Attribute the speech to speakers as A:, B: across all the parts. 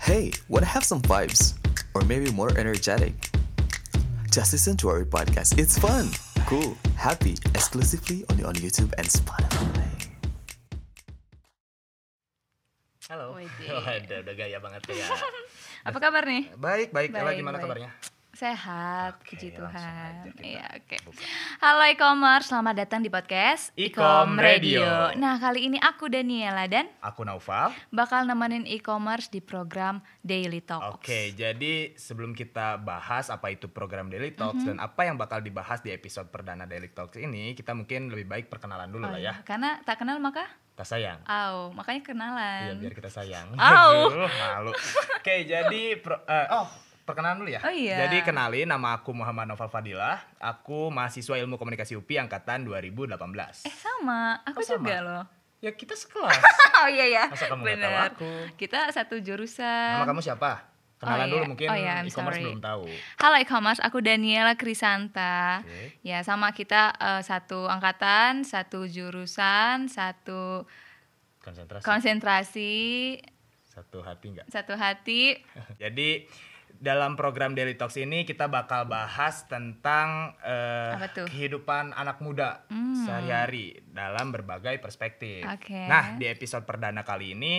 A: Hey, wanna have some vibes? Or maybe more energetic? Just listen to our podcast. It's fun, cool, happy, exclusively only on YouTube and Spotify.
B: Halo.
C: Widih.
B: Waduh, udah gaya banget ya.
C: Apa kabar nih?
B: Baik, baik. Ella
C: Baik,
B: gimana
C: baik.
B: kabarnya?
C: Sehat,
B: Oke,
C: puji
B: langsung aja
C: Tuhan.
B: kita
C: Iya, oke.
B: buka.
C: Halo e-commerce, selamat datang di podcast
B: Ecom Radio.
C: Nah, kali ini aku Daniela dan
B: Aku Naufal.
C: bakal nemenin e-commerce di program Daily Talks.
B: Oke, jadi sebelum kita bahas apa itu program Daily Talks
C: Mhm.
B: dan apa yang bakal dibahas di episode perdana Daily Talks ini, kita mungkin lebih baik perkenalan dulu
C: Oh
B: lah
C: iya,
B: ya.
C: Karena tak kenal maka
B: Kita sayang.
C: au, makanya kenalan.
B: Iya, biar kita sayang.
C: Au.
B: Aduh, malu. Oke, jadi pro- eh, oh perkenalan dulu ya.
C: Oh iya.
B: Jadi kenalin nama aku Muhammad Noval Fadilah. Aku mahasiswa Ilmu Komunikasi UPI angkatan 2018.
C: Eh, sama.
B: Oh,
C: Aku
B: sama.
C: juga loh.
B: Ya kita sekelas.
C: oh iya ya.
B: Masa kamu nggak tahu
C: Bener.
B: aku?
C: Kita satu jurusan.
B: Nama kamu siapa? Kenalan
C: Oh,
B: dulu
C: iya.
B: mungkin
C: Oh, iya, I'm
B: e-commerce
C: sorry.
B: belum tahu.
C: Halo e-commerce, aku Daniela Krisanta.
B: Oke.
C: Ya, sama kita eh, satu angkatan, satu jurusan, satu
B: Konsentrasi.
C: konsentrasi,
B: Satu hati nggak?
C: satu hati.
B: Jadi dalam program Daily Talks ini kita bakal bahas tentang eh,
C: Apa tuh?
B: kehidupan anak muda
C: Hmm.
B: sehari-hari dalam berbagai perspektif.
C: Oke.
B: Nah, di episode perdana kali ini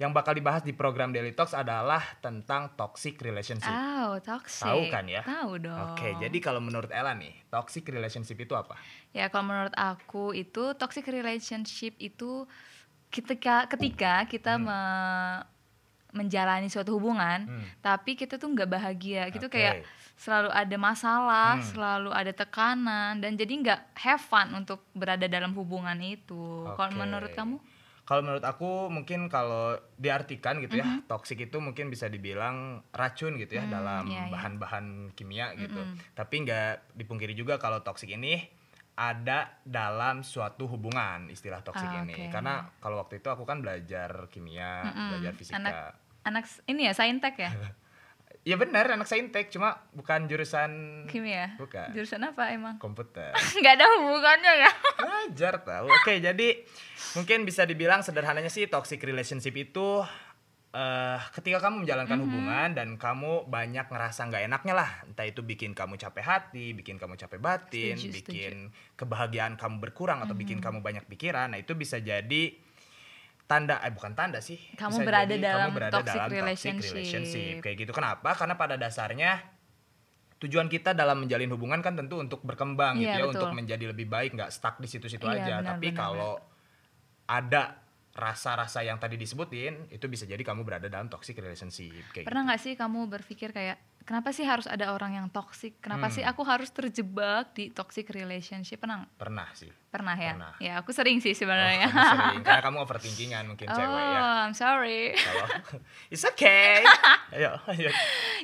B: yang bakal dibahas di program Daily Talks adalah tentang toxic relationship.
C: Oh, toxic.
B: Tahu kan ya?
C: Tahu dong.
B: Oke, jadi kalau menurut Ella nih, toxic relationship itu apa?
C: ya kalau menurut aku itu toxic relationship itu ketika ketika kita me- menjalani suatu hubungan,
B: Hmm.
C: tapi kita tuh nggak bahagia. Gitu
B: Oke.
C: kayak selalu ada masalah,
B: Hmm.
C: selalu ada tekanan dan jadi nggak have fun untuk berada dalam hubungan itu. Kalau
B: Oke.
C: menurut kamu?
B: Kalau menurut aku mungkin kalau diartikan gitu ya,
C: Mm-hmm.
B: toksik itu mungkin bisa dibilang racun gitu ya
C: Hmm,
B: dalam
C: iya, iya.
B: bahan-bahan kimia gitu.
C: Mm-mm.
B: Tapi nggak dipungkiri juga kalau toksik ini ada dalam suatu hubungan istilah toksik
C: Ah,
B: ini.
C: oke.
B: Karena kalau waktu itu aku kan belajar kimia,
C: Mm-mm.
B: belajar fisika.
C: Anak anak s- ini ya saintek ya?
B: Ya benar, anak saintek cuma bukan jurusan
C: Kimia.
B: Bukan.
C: ya? Jurusan apa emang?
B: komputer.
C: nggak ada hubungannya ya.
B: Ngajar tahu. Oke, jadi mungkin bisa dibilang sederhananya sih toxic relationship itu eh ketika kamu menjalankan
C: Mhm.
B: hubungan dan kamu banyak ngerasa nggak enaknya lah, entah itu bikin kamu capek hati, bikin kamu capek batin,
C: Setuju, Mhm.
B: bikin kebahagiaan kamu berkurang atau bikin kamu banyak pikiran. Nah, itu bisa jadi tanda eh bukan tanda sih. bisa
C: Kamu berada
B: jadi kamu
C: dalam
B: berada
C: toxic
B: dalam
C: relationship.
B: toxic relationship. Kayak gitu. Kenapa? Karena pada dasarnya tujuan kita dalam menjalin hubungan kan tentu untuk berkembang gitu ya
C: Iya, betul.
B: untuk menjadi lebih baik nggak stuck di situ-situ
C: Iya,
B: aja
C: benar,
B: tapi
C: benar,
B: kalau ada rasa-rasa yang tadi disebutin itu bisa jadi kamu berada dalam toxic relationship kayak
C: Pernah
B: gitu.
C: nggak sih kamu berpikir kayak kenapa sih harus ada orang yang toxic? Kenapa
B: Hmm.
C: sih aku harus terjebak di toxic relationship? Pernah nggak?
B: pernah sih
C: pernah ya?
B: Pernah.
C: Ya, aku sering sih
B: Oh,
C: sebenarnya.
B: kamu sering, karena kamu overthinkingan mungkin
C: ya? Oh,
B: cewek ya
C: I'm sorry.
B: kalau it's okay ayo ayo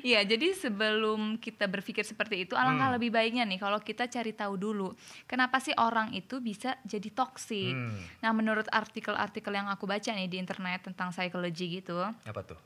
C: Iya, jadi sebelum kita berpikir seperti itu, alangkah
B: Hmm.
C: lebih baiknya nih kalau kita cari tahu dulu kenapa sih orang itu bisa jadi toksik.
B: Hmm.
C: Nah, menurut artikel-artikel yang aku baca nih di internet tentang psikologi gitu,
B: apa tuh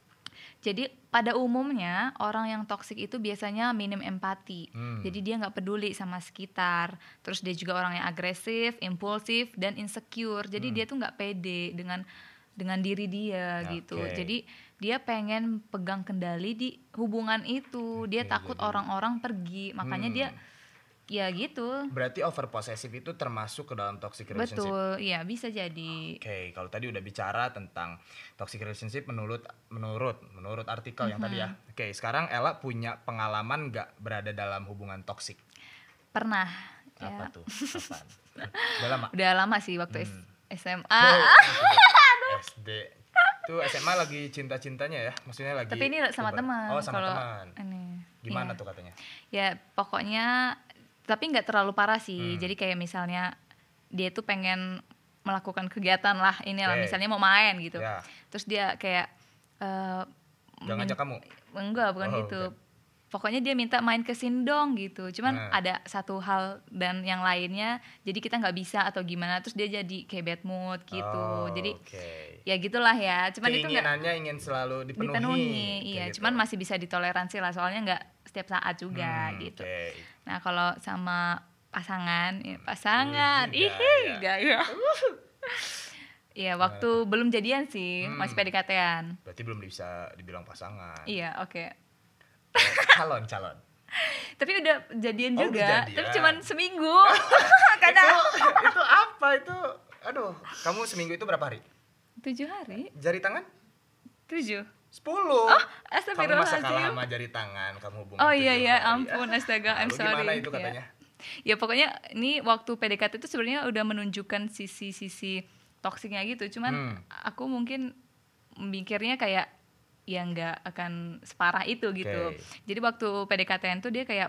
C: Jadi pada umumnya orang yang toksik itu biasanya minim empati.
B: Hmm.
C: Jadi dia nggak peduli sama sekitar. Terus dia juga orang yang agresif, impulsif dan insecure.
B: Hmm.
C: Jadi dia tuh nggak pede dengan dengan diri dia gitu.
B: Ya, Oke.
C: Jadi dia pengen pegang kendali di hubungan itu. Dia
B: Oke,
C: takut
B: jadi-
C: orang-orang pergi. Makanya
B: Hmm.
C: dia ya gitu.
B: berarti over possessive itu termasuk ke dalam toxic relationship
C: Betul. Iya, bisa jadi.
B: Oke, kalau tadi udah bicara tentang toxic relationship menurut menurut menurut artikel yang tadi ya.
C: Mm-hmm.
B: Oke, sekarang Ella punya pengalaman nggak berada dalam hubungan toksik?
C: Pernah
B: Apa
C: ya.
B: tuh? Kapan? Udah lama.
C: Udah lama sih waktu S-
B: Hmm.
C: SMA.
B: Oh, SD. Tuh SMA lagi cinta-cintanya ya, maksudnya lagi.
C: Tapi ini sama
B: puber.
C: teman.
B: Oh, sama
C: kalau
B: teman.
C: ini.
B: Gimana
C: Iya.
B: tuh katanya?
C: Ya pokoknya tapi nggak terlalu parah
B: Hmm.
C: sih. Jadi kayak misalnya dia tuh pengen melakukan kegiatan lah inilah
B: Oke.
C: misalnya mau main gitu.
B: Ya,
C: Terus dia kayak eh,
B: nggak
C: min-
B: ngajak kamu.
C: enggak bukan
B: Oh,
C: gitu.
B: bukan.
C: Pokoknya dia minta main ke sini dong gitu. Cuman
B: Nah.
C: ada satu hal dan yang lainnya jadi kita nggak bisa atau gimana terus dia jadi kayak bad mood gitu.
B: Oh,
C: jadi
B: Oke.
C: ya gitulah ya. Cuman itu nggak
B: Keinginannya ingin selalu dipenuhi.
C: dipenuhi,
B: kayak
C: iya
B: gitu.
C: cuman masih bisa ditoleransi lah soalnya nggak setiap saat juga
B: Hmm, oke.
C: gitu
B: Hmm,
C: nah kalau
B: iya,
C: sama pasangan ya pasangan
B: Ih,
C: ih
B: gaya.
C: gaya ya Iya, waktu belum jadian sih,
B: Hmm.
C: masih PDKT-an.
B: Berarti belum bisa dibilang pasangan.
C: Iya, oke.
B: calon calon.
C: Tapi udah jadian
B: Oh, udah
C: juga,
B: jadian.
C: tapi cuman seminggu. Karena
B: Itu, itu apa itu? Aduh, kamu seminggu itu berapa hari?
C: tujuh hari,
B: Jari tangan?
C: tujuh.
B: 10 Kamu masa
C: Oh, astagfirullahaladzim.
B: kalah sama jari tangan Kamu hubungan
C: Oh iya
B: tujuh
C: iya,
B: hari.
C: ampun
B: Ah,
C: astaga, I'm
B: lalu
C: sorry.
B: Gimana itu
C: Ya.
B: katanya?
C: Ya pokoknya ini waktu PDKT itu sebenarnya udah menunjukkan sisi-sisi toksiknya gitu. Cuman
B: Hmm.
C: aku mungkin mikirnya kayak ya nggak akan separah itu gitu.
B: Oke.
C: Jadi waktu PDKT itu dia kayak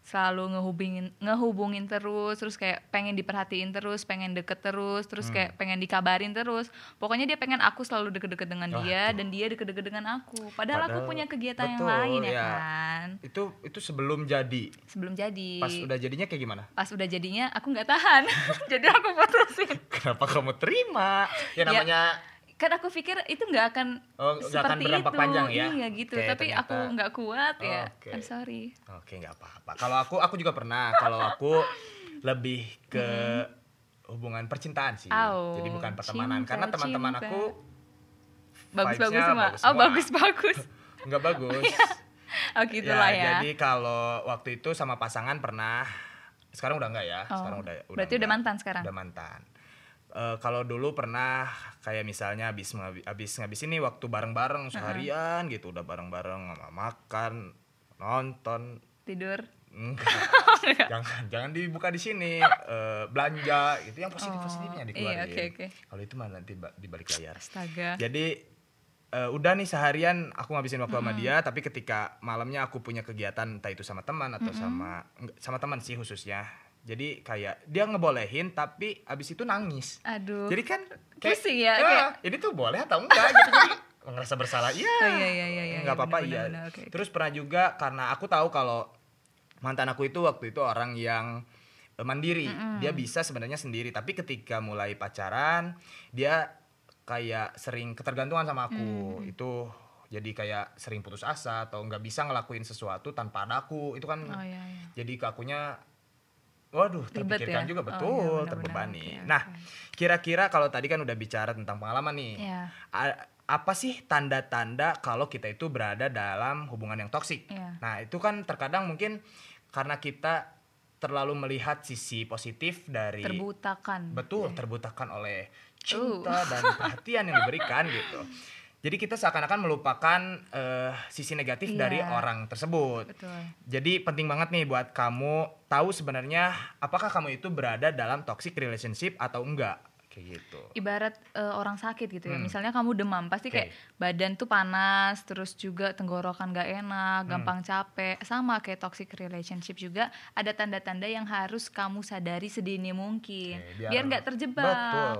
C: selalu ngehubungin ngehubungin terus terus kayak pengen diperhatiin terus pengen deket terus terus
B: Hmm.
C: kayak pengen dikabarin terus pokoknya dia pengen aku selalu deket-deket
B: Wah,
C: dengan dia dan dia deket-deket dengan aku padahal,
B: Padahal-
C: aku punya kegiatan yang
B: betul,
C: lain ya
B: ya.
C: kan
B: Itu itu sebelum jadi
C: sebelum jadi
B: Pas udah jadinya kayak gimana?
C: pas udah jadinya aku nggak tahan jadi aku putusin
B: Kenapa kamu terima? Ya
C: Ya.
B: namanya
C: kan aku pikir itu nggak akan
B: Oh, nggak akan
C: seperti
B: berdampak
C: itu
B: panjang ya?
C: iya gitu
B: Oke,
C: tapi
B: ternyata.
C: aku nggak kuat ya
B: Oke.
C: I'm sorry
B: Oke nggak apa-apa. Kalau aku aku juga pernah. Kalau aku lebih ke hubungan percintaan sih.
C: Mm-hmm. Au,
B: Jadi bukan pertemanan.
C: cinta,
B: Karena teman-teman
C: cinta.
B: aku
C: bagus bagus
B: Vibes-nya
C: semua
B: bagus
C: oh
B: semua.
C: bagus bagus
B: nggak bagus.
C: oh gitulah ya,
B: Jadi kalau waktu itu sama pasangan pernah. Sekarang udah nggak ya?
C: Oh,
B: Sekarang udah.
C: berarti udah
B: nggak.
C: mantan sekarang?
B: Udah mantan. Eh, kalau dulu pernah kayak misalnya habis ngabi- habis ngabisin nih waktu bareng-bareng seharian gitu udah bareng-bareng sama makan nonton
C: tidur
B: Enggak. jangan jangan dibuka di sini Eh, belanja itu yang positif positifnya dikeluarin
C: iya, oke, oke.
B: kalau itu mah nanti ba- di balik layar
C: astaga
B: jadi eh, udah nih seharian aku ngabisin waktu sama dia tapi ketika malamnya aku punya kegiatan entah itu sama teman atau sama enggak, sama teman sih khususnya jadi kayak dia ngebolehin tapi abis itu nangis
C: aduh
B: jadi kan
C: Pusing
B: "Ah,
C: ya, kayak-
B: ini tuh boleh atau enggak gitu jadi ngerasa bersalah iya
C: Oh, iya, iya, iya, iya,
B: nggak apa-apa
C: benar,
B: iya
C: benar, benar, oke, oke.
B: terus pernah juga karena aku tahu kalau mantan aku itu waktu itu orang yang eh, mandiri dia bisa sebenarnya sendiri tapi ketika mulai pacaran dia kayak sering ketergantungan sama
C: Hmm.
B: aku itu jadi kayak sering putus asa atau nggak bisa ngelakuin sesuatu tanpa ada aku itu kan
C: oh iya iya
B: jadi ke akunya waduh
C: Ribet
B: terpikirkan
C: ya?
B: juga
C: Oh, iya,
B: betul
C: benar-benar.
B: terbebani
C: Oke, oke.
B: nah kira-kira kalau tadi kan udah bicara tentang pengalaman nih
C: Iya.
B: A- apa sih tanda-tanda kalau kita itu berada dalam hubungan yang toksik
C: Iya.
B: nah itu kan terkadang mungkin karena kita terlalu melihat sisi positif dari
C: terbutakan
B: betul terbutakan oleh cinta
C: Uh.
B: dan perhatian yang diberikan gitu jadi kita seakan-akan melupakan eh, sisi negatif
C: Iya.
B: dari orang tersebut
C: betul
B: jadi penting banget nih buat kamu tahu sebenarnya apakah kamu itu berada dalam toxic relationship atau enggak kayak gitu.
C: ibarat eh, orang sakit gitu ya.
B: Hmm.
C: Misalnya kamu demam, pasti
B: Oke.
C: kayak badan tuh panas, terus juga tenggorokan gak enak,
B: Hmm.
C: gampang capek. Sama kayak toxic relationship juga ada tanda-tanda yang harus kamu sadari sedini mungkin.
B: Oke,
C: biar nggak terjebak.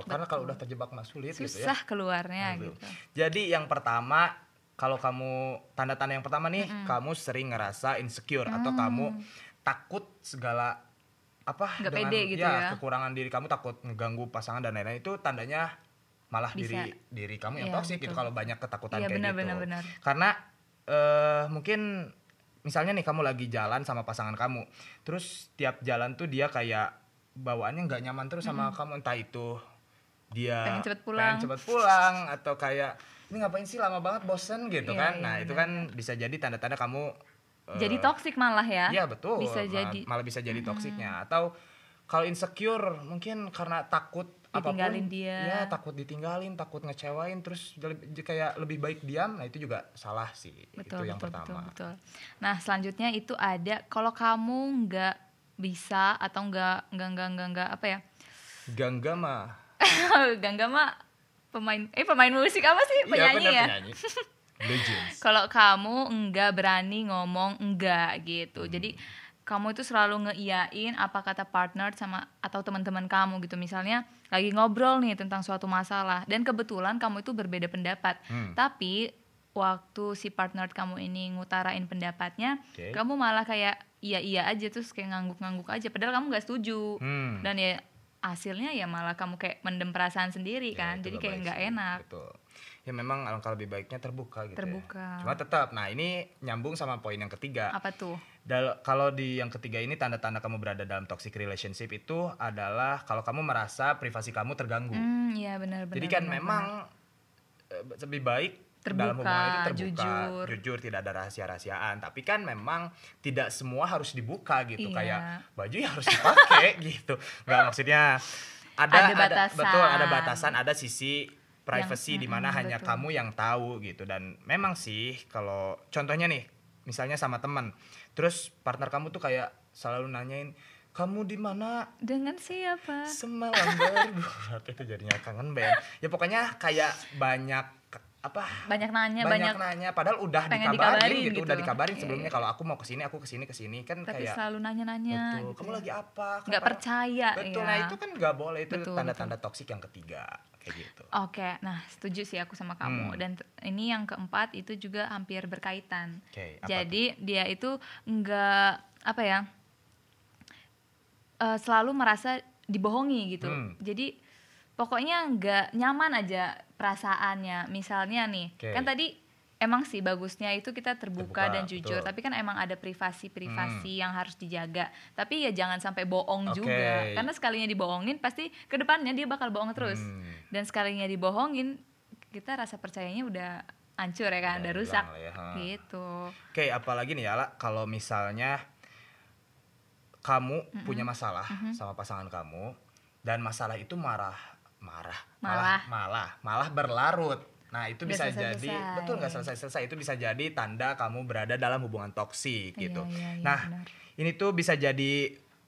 B: Betul, karena kalau
C: Betul.
B: udah terjebak mah sulit gitu ya.
C: susah keluarnya
B: Aduh.
C: gitu.
B: Jadi yang pertama kalau kamu tanda-tanda yang pertama nih kamu sering ngerasa insecure
C: Mm.
B: atau kamu takut segala apa
C: Nggak pede gitu ya.
B: kekurangan diri kamu takut mengganggu pasangan dan lain-lain itu tandanya malah
C: Bisa.
B: diri diri kamu yang
C: Iya,
B: toksik gitu
C: betul.
B: kalau banyak ketakutan
C: Iya,
B: kayak
C: benar,
B: gitu.
C: benar, benar.
B: Karena eh, mungkin misalnya nih kamu lagi jalan sama pasangan kamu, terus tiap jalan tuh dia kayak bawaannya nggak nyaman terus sama kamu entah itu dia
C: Pengen cepet pulang.
B: pengen cepet pulang atau kayak ini ngapain sih lama banget bosen gitu
C: Iya,
B: kan.
C: iya,
B: nah, itu kan bisa jadi tanda-tanda kamu eh,
C: Jadi toxic malah ya.
B: Iya betul.
C: Bisa
B: Mal-
C: jadi
B: malah bisa jadi toksiknya atau kalau insecure mungkin karena takut
C: Ditinggalin
B: apapun,
C: dia.
B: Iya, takut ditinggalin, takut ngecewain terus jadi- jadi kayak lebih baik diam. Nah, itu juga salah sih. itu
C: betul
B: yang
C: betul betul
B: pertama.
C: betul nah selanjutnya itu ada kalau kamu nggak bisa atau nggak nggak nggak nggak nggak apa ya
B: Gangga mah.
C: Gangga mah pemain eh pemain musik apa sih
B: Iya,
C: penyanyi
B: benar,
C: ya?
B: penyanyi. Legends.
C: Kalau kamu enggak berani ngomong enggak gitu.
B: Hmm.
C: Jadi kamu itu selalu ngeiyain apa kata partner sama atau teman-teman kamu gitu. Misalnya lagi ngobrol nih tentang suatu masalah dan kebetulan kamu itu berbeda pendapat.
B: Hmm.
C: Tapi waktu si partner kamu ini ngutarain pendapatnya,
B: Oke.
C: kamu malah kayak iya iya aja terus kayak ngangguk-ngangguk aja padahal kamu nggak setuju
B: Hmm.
C: dan ya hasilnya ya malah kamu kayak mendem perasaan sendiri
B: Ya,
C: kan
B: itu
C: jadi
B: nggak
C: kayak
B: baik
C: nggak
B: sih,
C: enak
B: betul ya memang alangkah lebih baiknya terbuka gitu ya.
C: Terbuka.
B: cuma tetap nah ini nyambung sama poin yang ketiga
C: apa tuh
B: Dal- kalau di yang ketiga ini tanda-tanda kamu berada dalam toxic relationship itu adalah kalau kamu merasa privasi kamu terganggu.
C: Hmm, iya benar-benar.
B: Jadi kan
C: benar,
B: memang eh, lebih baik dalam
C: Terbuka,
B: hubungan itu terbuka,
C: jujur.
B: tidak ada rahasia-rahasiaan. Tapi kan memang tidak semua harus dibuka gitu,
C: Iya.
B: kayak baju ya harus dipakai gitu. Nggak maksudnya ada,
C: Ada batasan.
B: betul ada batasan, ada sisi privacy
C: Yang-
B: di mana
C: mm-mm,
B: hanya
C: betul.
B: kamu yang tahu gitu. Dan memang sih kalau contohnya nih, misalnya sama teman, terus partner kamu tuh kayak selalu nanyain kamu di mana
C: benar. Dengan siapa?
B: Semalam bergulat itu jadinya kangen band. Ya pokoknya kayak banyak ke- apa?
C: Banyak nanya, banyak,
B: nanya padahal udah
C: pengen
B: dikabarin,
C: dikabarin
B: gitu,
C: gitu.
B: udah dikabarin
C: Iya,
B: sebelumnya kalau aku mau ke sini, aku ke sini ke sini kan
C: tapi
B: kayak
C: selalu nanya-nanya.
B: betul.
C: gitu
B: Kamu
C: ya.
B: lagi apa? Kapan-
C: Nggak percaya
B: Betul.
C: ya.
B: Nah, itu kan nggak boleh itu
C: Betul,
B: tanda-tanda toksik yang ketiga kayak gitu.
C: Oke, nah setuju sih aku sama kamu.
B: Hmm.
C: Dan t- ini yang keempat itu juga hampir berkaitan.
B: Oke, apa
C: Jadi dia itu enggak apa ya? eh, selalu merasa dibohongi gitu.
B: Hmm.
C: Jadi pokoknya enggak nyaman aja perasaannya. Misalnya nih,
B: Oke.
C: kan tadi emang sih bagusnya itu kita terbuka,
B: Terbuka,
C: dan
B: betul.
C: jujur,
B: Hmm.
C: tapi kan emang ada privasi-privasi yang harus dijaga. Tapi ya jangan sampai bohong
B: Oke.
C: juga. Karena sekalinya dibohongin pasti ke depannya dia bakal bohong terus
B: Hmm.
C: dan sekalinya dibohongin kita rasa percayanya udah hancur ya kan udah
B: Udah hilang
C: rusak
B: lah ya, ha.
C: gitu
B: Oke, apalagi nih ya, La, kalau misalnya kamu punya masalah sama pasangan kamu dan masalah itu marah, marah, malah, malah, malah berlarut. Nah, itu
C: Nggak
B: bisa
C: selesai-selesai.
B: jadi betul nggak selesai-selesai itu bisa jadi tanda kamu berada dalam hubungan toksik
C: Iya,
B: gitu.
C: iya, iya,
B: nah,
C: benar.
B: ini tuh bisa jadi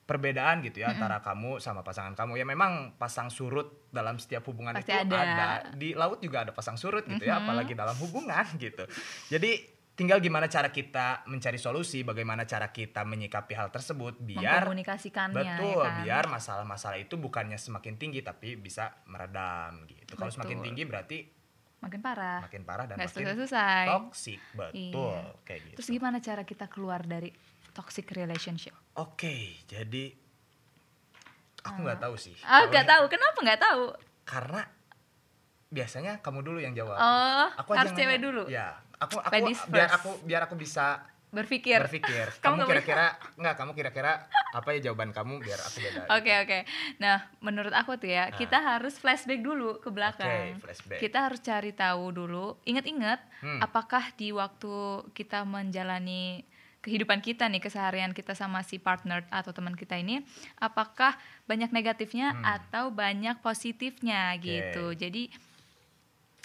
B: perbedaan gitu ya antara kamu sama pasangan kamu. Ya memang pasang surut dalam setiap hubungan
C: Pasti
B: itu
C: ada.
B: Di laut juga ada pasang surut gitu
C: Mm-hmm.
B: ya, apalagi dalam hubungan gitu. Jadi tinggal gimana cara kita mencari solusi, bagaimana cara kita menyikapi hal tersebut biar
C: mengkomunikasikannya
B: betul,
C: ya kan?
B: biar masalah-masalah itu bukannya semakin tinggi tapi bisa meredam gitu. Kalau semakin
C: Betul.
B: tinggi berarti
C: makin parah
B: makin parah dan makin
C: nggak selesai-selesai
B: toksik. Betul,
C: Iya.
B: kayak gitu.
C: terus gimana cara kita keluar dari toxic relationship
B: Oke, jadi aku nggak tahu sih.
C: ah nggak
B: Soalnya-
C: tahu kenapa nggak tahu
B: Karena biasanya kamu dulu yang jawab.
C: oh
B: aja
C: harus
B: yang
C: cewek
B: nanya.
C: dulu
B: Ya, aku aku
C: Ladies
B: biar
C: first.
B: aku biar aku bisa
C: berpikir
B: berpikir. Kamu
C: Kamu nggak
B: kira-kira nggak? Kamu kira-kira apa ya jawaban kamu biar aku beda?
C: Oke oke. Nah, menurut aku tuh ya, kita harus flashback dulu ke belakang.
B: Nah. Oke, flashback.
C: Kita harus cari tahu dulu, ingat-ingat
B: Hmm.
C: apakah di waktu kita menjalani kehidupan kita nih, keseharian kita sama si partner atau teman kita ini, apakah banyak negatifnya
B: Hmm.
C: atau banyak positifnya gitu. Jadi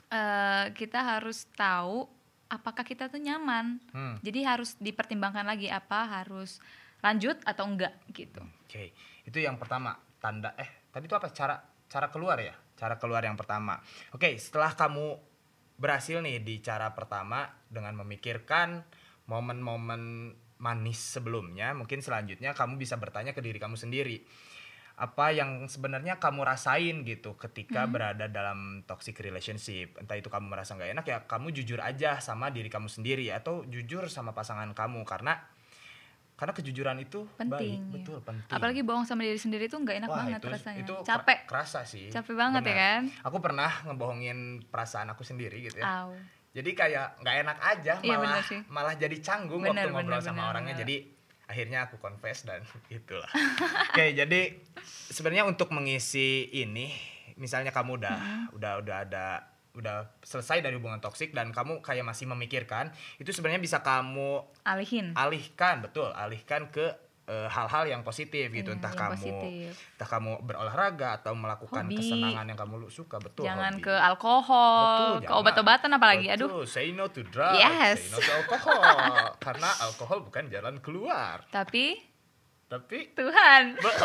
C: eh, kita harus tahu apakah kita tuh nyaman.
B: Hmm.
C: Jadi harus dipertimbangkan lagi apa harus lanjut atau enggak gitu.
B: Oke, itu yang pertama tanda eh tadi itu apa cara cara keluar ya? Cara keluar yang pertama. Oke, setelah kamu berhasil nih di cara pertama dengan memikirkan momen-momen manis sebelumnya, mungkin selanjutnya kamu bisa bertanya ke diri kamu sendiri. Apa yang sebenarnya kamu rasain gitu ketika berada dalam toxic relationship? Entah itu kamu merasa nggak enak ya, kamu jujur aja sama diri kamu sendiri atau jujur sama pasangan kamu karena karena kejujuran itu
C: Penting,
B: baik,
C: ya.
B: betul penting.
C: Apalagi bohong sama diri sendiri tuh nggak enak
B: Wah,
C: banget
B: itu-
C: rasanya.
B: itu ker-
C: Capek.
B: kerasa sih.
C: Capek banget ya kan?
B: Aku pernah ngebohongin perasaan aku sendiri gitu ya.
C: Au.
B: Jadi kayak nggak enak aja
C: Iya,
B: malah
C: bener sih.
B: malah jadi canggung waktu
C: Bener,
B: ngobrol
C: bener,
B: sama
C: bener,
B: orangnya.
C: bener.
B: Jadi akhirnya aku confess dan itulah. Oke, jadi sebenarnya untuk mengisi ini misalnya kamu udah
C: Mm-hmm.
B: udah udah ada udah selesai dari hubungan toksik dan kamu kayak masih memikirkan, itu sebenarnya bisa kamu
C: Alihin.
B: alihkan betul alihkan ke eh, hal-hal yang positif gitu
C: Iya,
B: entah
C: yang
B: kamu
C: positif.
B: entah kamu berolahraga atau melakukan
C: Hobi.
B: kesenangan yang kamu lu- suka betul
C: jangan
B: hobi.
C: ke alkohol,
B: Betul,
C: ke
B: jangan.
C: obat-obatan apalagi. Aduh.
B: Betul, say no to drugs
C: Yes.
B: say no to alkohol karena alkohol bukan jalan keluar
C: Tapi
B: tapi
C: Tuhan.
B: be-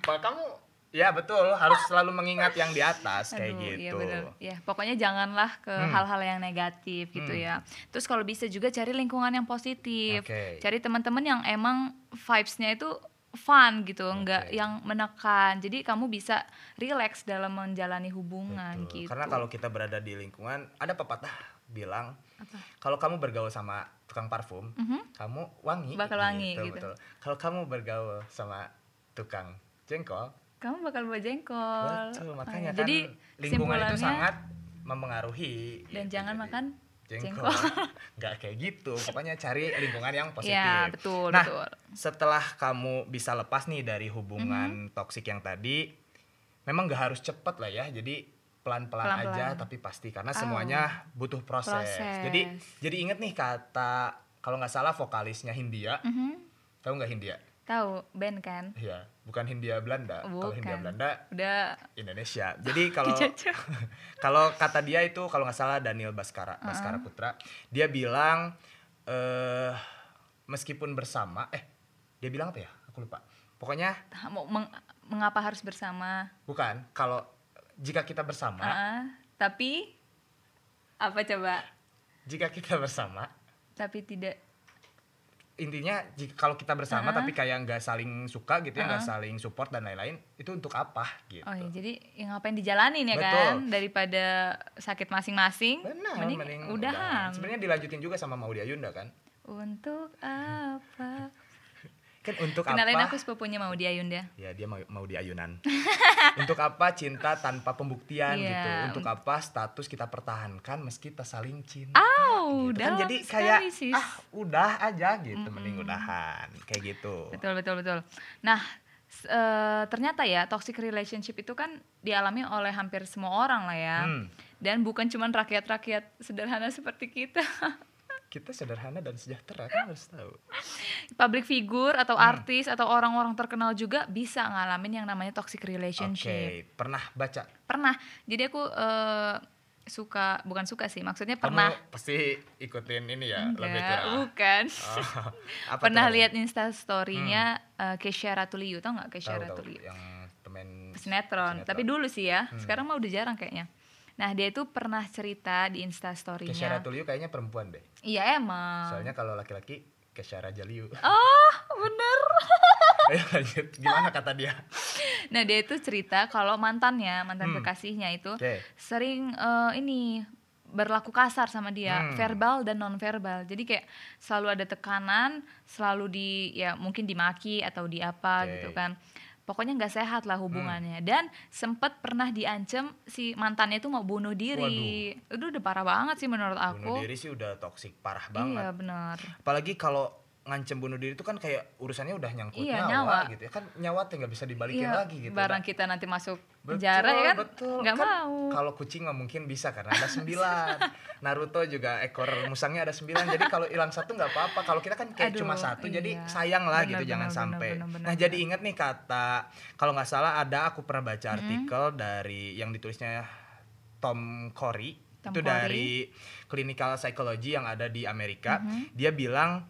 B: apa kamu ya betul harus selalu mengingat yang di atas kayak
C: Aduh, iya
B: gitu Hmm.
C: bener. Ya, pokoknya janganlah ke hal-hal yang negatif gitu ya. Terus kalau bisa juga cari lingkungan yang positif.
B: Oke.
C: Cari teman-teman yang emang vibes-nya itu fun gitu, enggak
B: Oke.
C: yang menekan. Jadi kamu bisa relax dalam menjalani hubungan
B: Betul.
C: gitu.
B: Karena kalau kita berada di lingkungan, ada pepatah bilang kalau kamu bergaul sama tukang parfum, kamu wangi.
C: Mhm. Bakal wangi, gitu.
B: betul. Kalau kamu bergaul sama tukang jengkol,
C: kamu bakal bawa jengkol.
B: betul.
C: Oh,
B: Makanya
C: ya.
B: kan lingkungan itu
C: simpulannya-
B: sangat mempengaruhi.
C: dan
B: gitu.
C: jangan
B: Jadi,
C: makan
B: jengkol.
C: Jengkol.
B: Nggak kayak gitu. Pokoknya cari lingkungan yang positif.
C: Iya, betul,
B: Nah,
C: betul.
B: setelah kamu bisa lepas nih dari hubungan
C: Mm-hmm.
B: toksik yang tadi, memang nggak harus cepet lah ya. Jadi pelan-pelan,
C: Pelan-pelan. Ah.
B: aja tapi pasti karena semuanya butuh proses.
C: Proses.
B: Jadi jadi inget nih kata kalau nggak salah vokalisnya Hindia.
C: Mhm.
B: Tahu nggak Hindia?
C: Tahu band kan?
B: Iya, bukan Hindia Belanda. Kalau Hindia
C: Bukan.
B: Belanda
C: Udah
B: Indonesia. Jadi kalau
C: Dijajah.
B: kalau kata dia itu kalau nggak salah Daniel Baskara Baskara Putra, dia bilang eh meskipun bersama eh dia bilang apa ya? Aku lupa. Pokoknya
C: mau meng- mengapa harus bersama?
B: bukan kalau jika kita bersama,
C: Ah, tapi apa coba?
B: jika kita bersama
C: Tapi tidak
B: intinya jika, kalau kita bersama tapi kayak nggak saling suka gitu ya, nggak saling support dan lain-lain, itu untuk apa gitu.
C: Oh ya, jadi yang ngapain dijalanin ya
B: Betul.
C: kan daripada sakit masing-masing.
B: Benar,
C: mending, udahan.
B: Sebenarnya dilanjutin juga sama Maudy Ayunda kan.
C: Untuk apa?
B: Kan untuk
C: Kenalin
B: apa?
C: aku sepupunya mau dia Yunda.
B: ya dia mau mau diayunan untuk apa cinta tanpa pembuktian
C: Iya,
B: gitu untuk apa status kita pertahankan meski kita saling cinta
C: Oh,
B: gitu.
C: dalam
B: kan jadi
C: sekali,
B: kayak
C: sis.
B: ah udah aja gitu mending udahan kayak gitu
C: Betul betul betul. Nah, s- eh, ternyata ya toxic relationship itu kan dialami oleh hampir semua orang lah ya.
B: Hmm.
C: Dan bukan cuma rakyat-rakyat sederhana seperti kita.
B: kita sederhana dan sejahtera kan harus tahu
C: Public figure atau
B: Hmm.
C: artis atau orang-orang terkenal juga bisa ngalamin yang namanya toxic
B: oke
C: relationship.
B: pernah baca
C: Pernah. Jadi aku eh, suka bukan suka sih, maksudnya pernah
B: kamu pasti ikutin ini ya lebih
C: Enggak, bukan. pernah lihat Insta story-nya
B: Hmm.
C: eh, Kesha Ratuliu, tau nggak Kesha Ratuliu?
B: yang temen
C: Sinetron. Tapi dulu sih ya,
B: Hmm.
C: sekarang mah udah jarang kayaknya. Nah, dia itu pernah cerita di Insta
B: Kesha
C: story-nya.
B: Ratuliu kayaknya perempuan deh
C: Iya emang.
B: soalnya kalau laki-laki Kesha Rajaliu
C: Oh, bener.
B: ayo Iya, lanjut gimana kata dia
C: Nah, dia itu cerita kalau mantannya, mantan kekasihnya itu
B: Hmm. Oke.
C: sering eh, ini berlaku kasar sama dia,
B: Hmm.
C: verbal dan non verbal. Jadi kayak selalu ada tekanan, selalu di ya mungkin dimaki atau di apa
B: Oke. Hmm.
C: gitu kan. Pokoknya nggak sehat lah hubungannya. Dan sempet pernah diancem si mantannya itu mau bunuh diri. Itu udah parah banget sih menurut
B: bunuh
C: aku.
B: diri sih udah toksik parah banget.
C: Iya benar.
B: Apalagi kalau ngancem bunuh diri itu kan kayak urusannya udah nyangkut
C: Iya,
B: nyawa,
C: nyawa.
B: gitu ya. Kan nyawa tuh nggak bisa dibalikin
C: Iya,
B: lagi gitu.
C: barang
B: Nah,
C: kita nanti masuk
B: betul,
C: penjara ya kan,
B: betul.
C: nggak
B: Kan
C: mau.
B: Kalau kucing mah mungkin bisa karena ada sembilan. Naruto juga ekor musangnya ada sembilan. Jadi kalau hilang satu nggak apa-apa. Kalau kita kan kayak
C: Aduh,
B: cuma satu. Jadi
C: iya.
B: sayang lah
C: Benar,
B: gitu jangan
C: benar,
B: sampai.
C: benar, benar,
B: nah
C: benar.
B: jadi ingat nih kata kalau nggak salah ada aku pernah baca
C: Hmm.
B: artikel dari yang ditulisnya Tom Corey.
C: Tom
B: itu
C: Corey. Hmm.
B: dari clinical psychology yang ada di Amerika. Dia bilang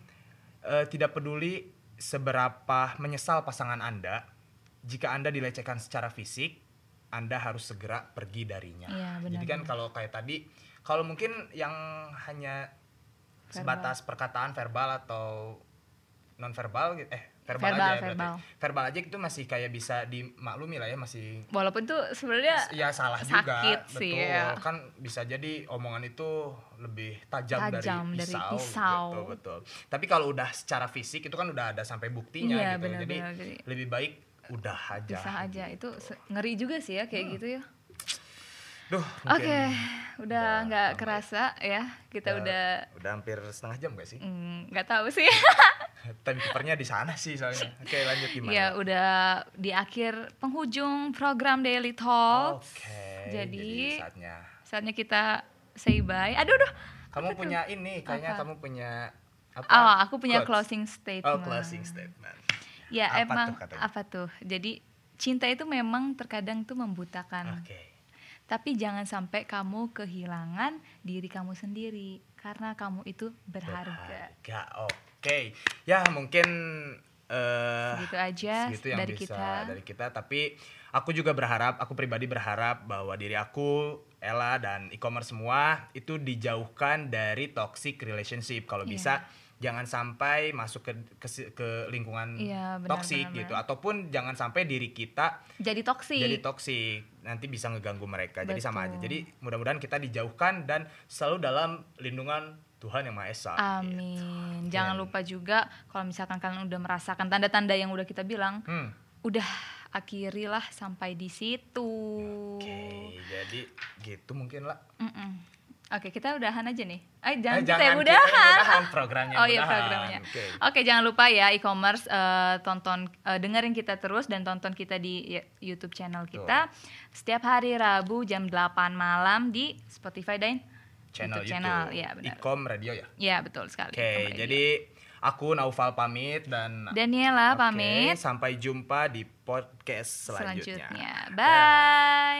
B: e, tidak peduli seberapa menyesal pasangan Anda, jika Anda dilecehkan secara fisik, Anda harus segera pergi darinya.
C: Iya, benar,
B: Jadi kan kalau kayak tadi, kalau mungkin yang hanya sebatas perkataan verbal atau non verbal gitu eh verbal,
C: Verbal,
B: aja ya berarti.
C: verbal.
B: verbal aja itu masih kayak bisa dimaklumi lah ya masih
C: Walaupun tuh sebenarnya
B: ya salah
C: Eh, Sakit
B: juga
C: sih,
B: betul
C: ya.
B: kan bisa jadi omongan itu lebih tajam,
C: Tajam
B: dari
C: dari
B: pisau, gitu.
C: pisau.
B: betul betul tapi kalau udah secara fisik itu kan udah ada sampai buktinya
C: Iya,
B: gitu jadi
C: benar-benar. Jadi
B: lebih baik udah aja
C: pisah aja itu se- ngeri juga sih ya
B: Hmm,
C: kayak gitu ya
B: duh
C: oke
B: mungkin
C: udah nggak kerasa ya kita udah
B: udah hampir setengah jam gak sih
C: mm, nggak tahu sih
B: time keepernya di sana sih soalnya oke lanjut gimana
C: ya udah di akhir penghujung program daily
B: oke
C: talk
B: jadi,
C: Jadi-
B: saatnya
C: saatnya kita say bye aduh aduh
B: kamu punya ini kayaknya kamu punya apa
C: oh aku punya
B: Quotes.
C: closing statement
B: oh closing statement
C: ya
B: Apa
C: emang
B: tuh katanya?
C: apa tuh jadi cinta itu memang terkadang tuh membutakan
B: oke
C: Tapi jangan sampai kamu kehilangan diri kamu sendiri karena kamu itu berharga.
B: Harga, oke. Ya mungkin eh
C: Segitu aja
B: segitu yang
C: dari
B: bisa
C: kita.
B: dari kita. Tapi aku juga berharap, aku pribadi berharap bahwa diri aku, Ella dan e-commerce semua itu dijauhkan dari toxic relationship. Kalau
C: Iya.
B: bisa jangan sampai masuk ke ke, si- ke lingkungan
C: Iya, benar,
B: toxic
C: benar,
B: gitu ataupun jangan sampai diri kita
C: Jadi toksik.
B: jadi toksik nanti bisa ngeganggu mereka jadi sama aja
C: Betul.
B: jadi mudah-mudahan kita dijauhkan dan selalu dalam lindungan Tuhan yang maha esa Gitu.
C: Amin. Jangan lupa juga kalau misalkan kalian udah merasakan tanda-tanda yang udah kita bilang,
B: hmm.
C: udah akhirilah sampai di situ.
B: oke jadi gitu mungkin lah
C: Mm-mm. Oke, kita udahan aja nih. Eh,
B: Eh,
C: jangan,
B: jangan
C: kita ya,
B: kita
C: udahan.
B: udahan, programnya
C: Oh iya,
B: udahan.
C: programnya.
B: Oke.
C: Oke, jangan lupa ya e-commerce eh, tonton eh, dengerin kita terus dan tonton kita di ya, YouTube channel kita setiap hari Rabu jam 8 malam di Spotify dan
B: Channel YouTube.
C: channel. Iya, benar.
B: Icom Radio ya.
C: Iya, betul sekali.
B: Oke,
C: Kembali.
B: jadi aku Naufal pamit dan
C: Daniela
B: Oke,
C: pamit
B: sampai jumpa di podcast selanjutnya.
C: selanjutnya. Bye.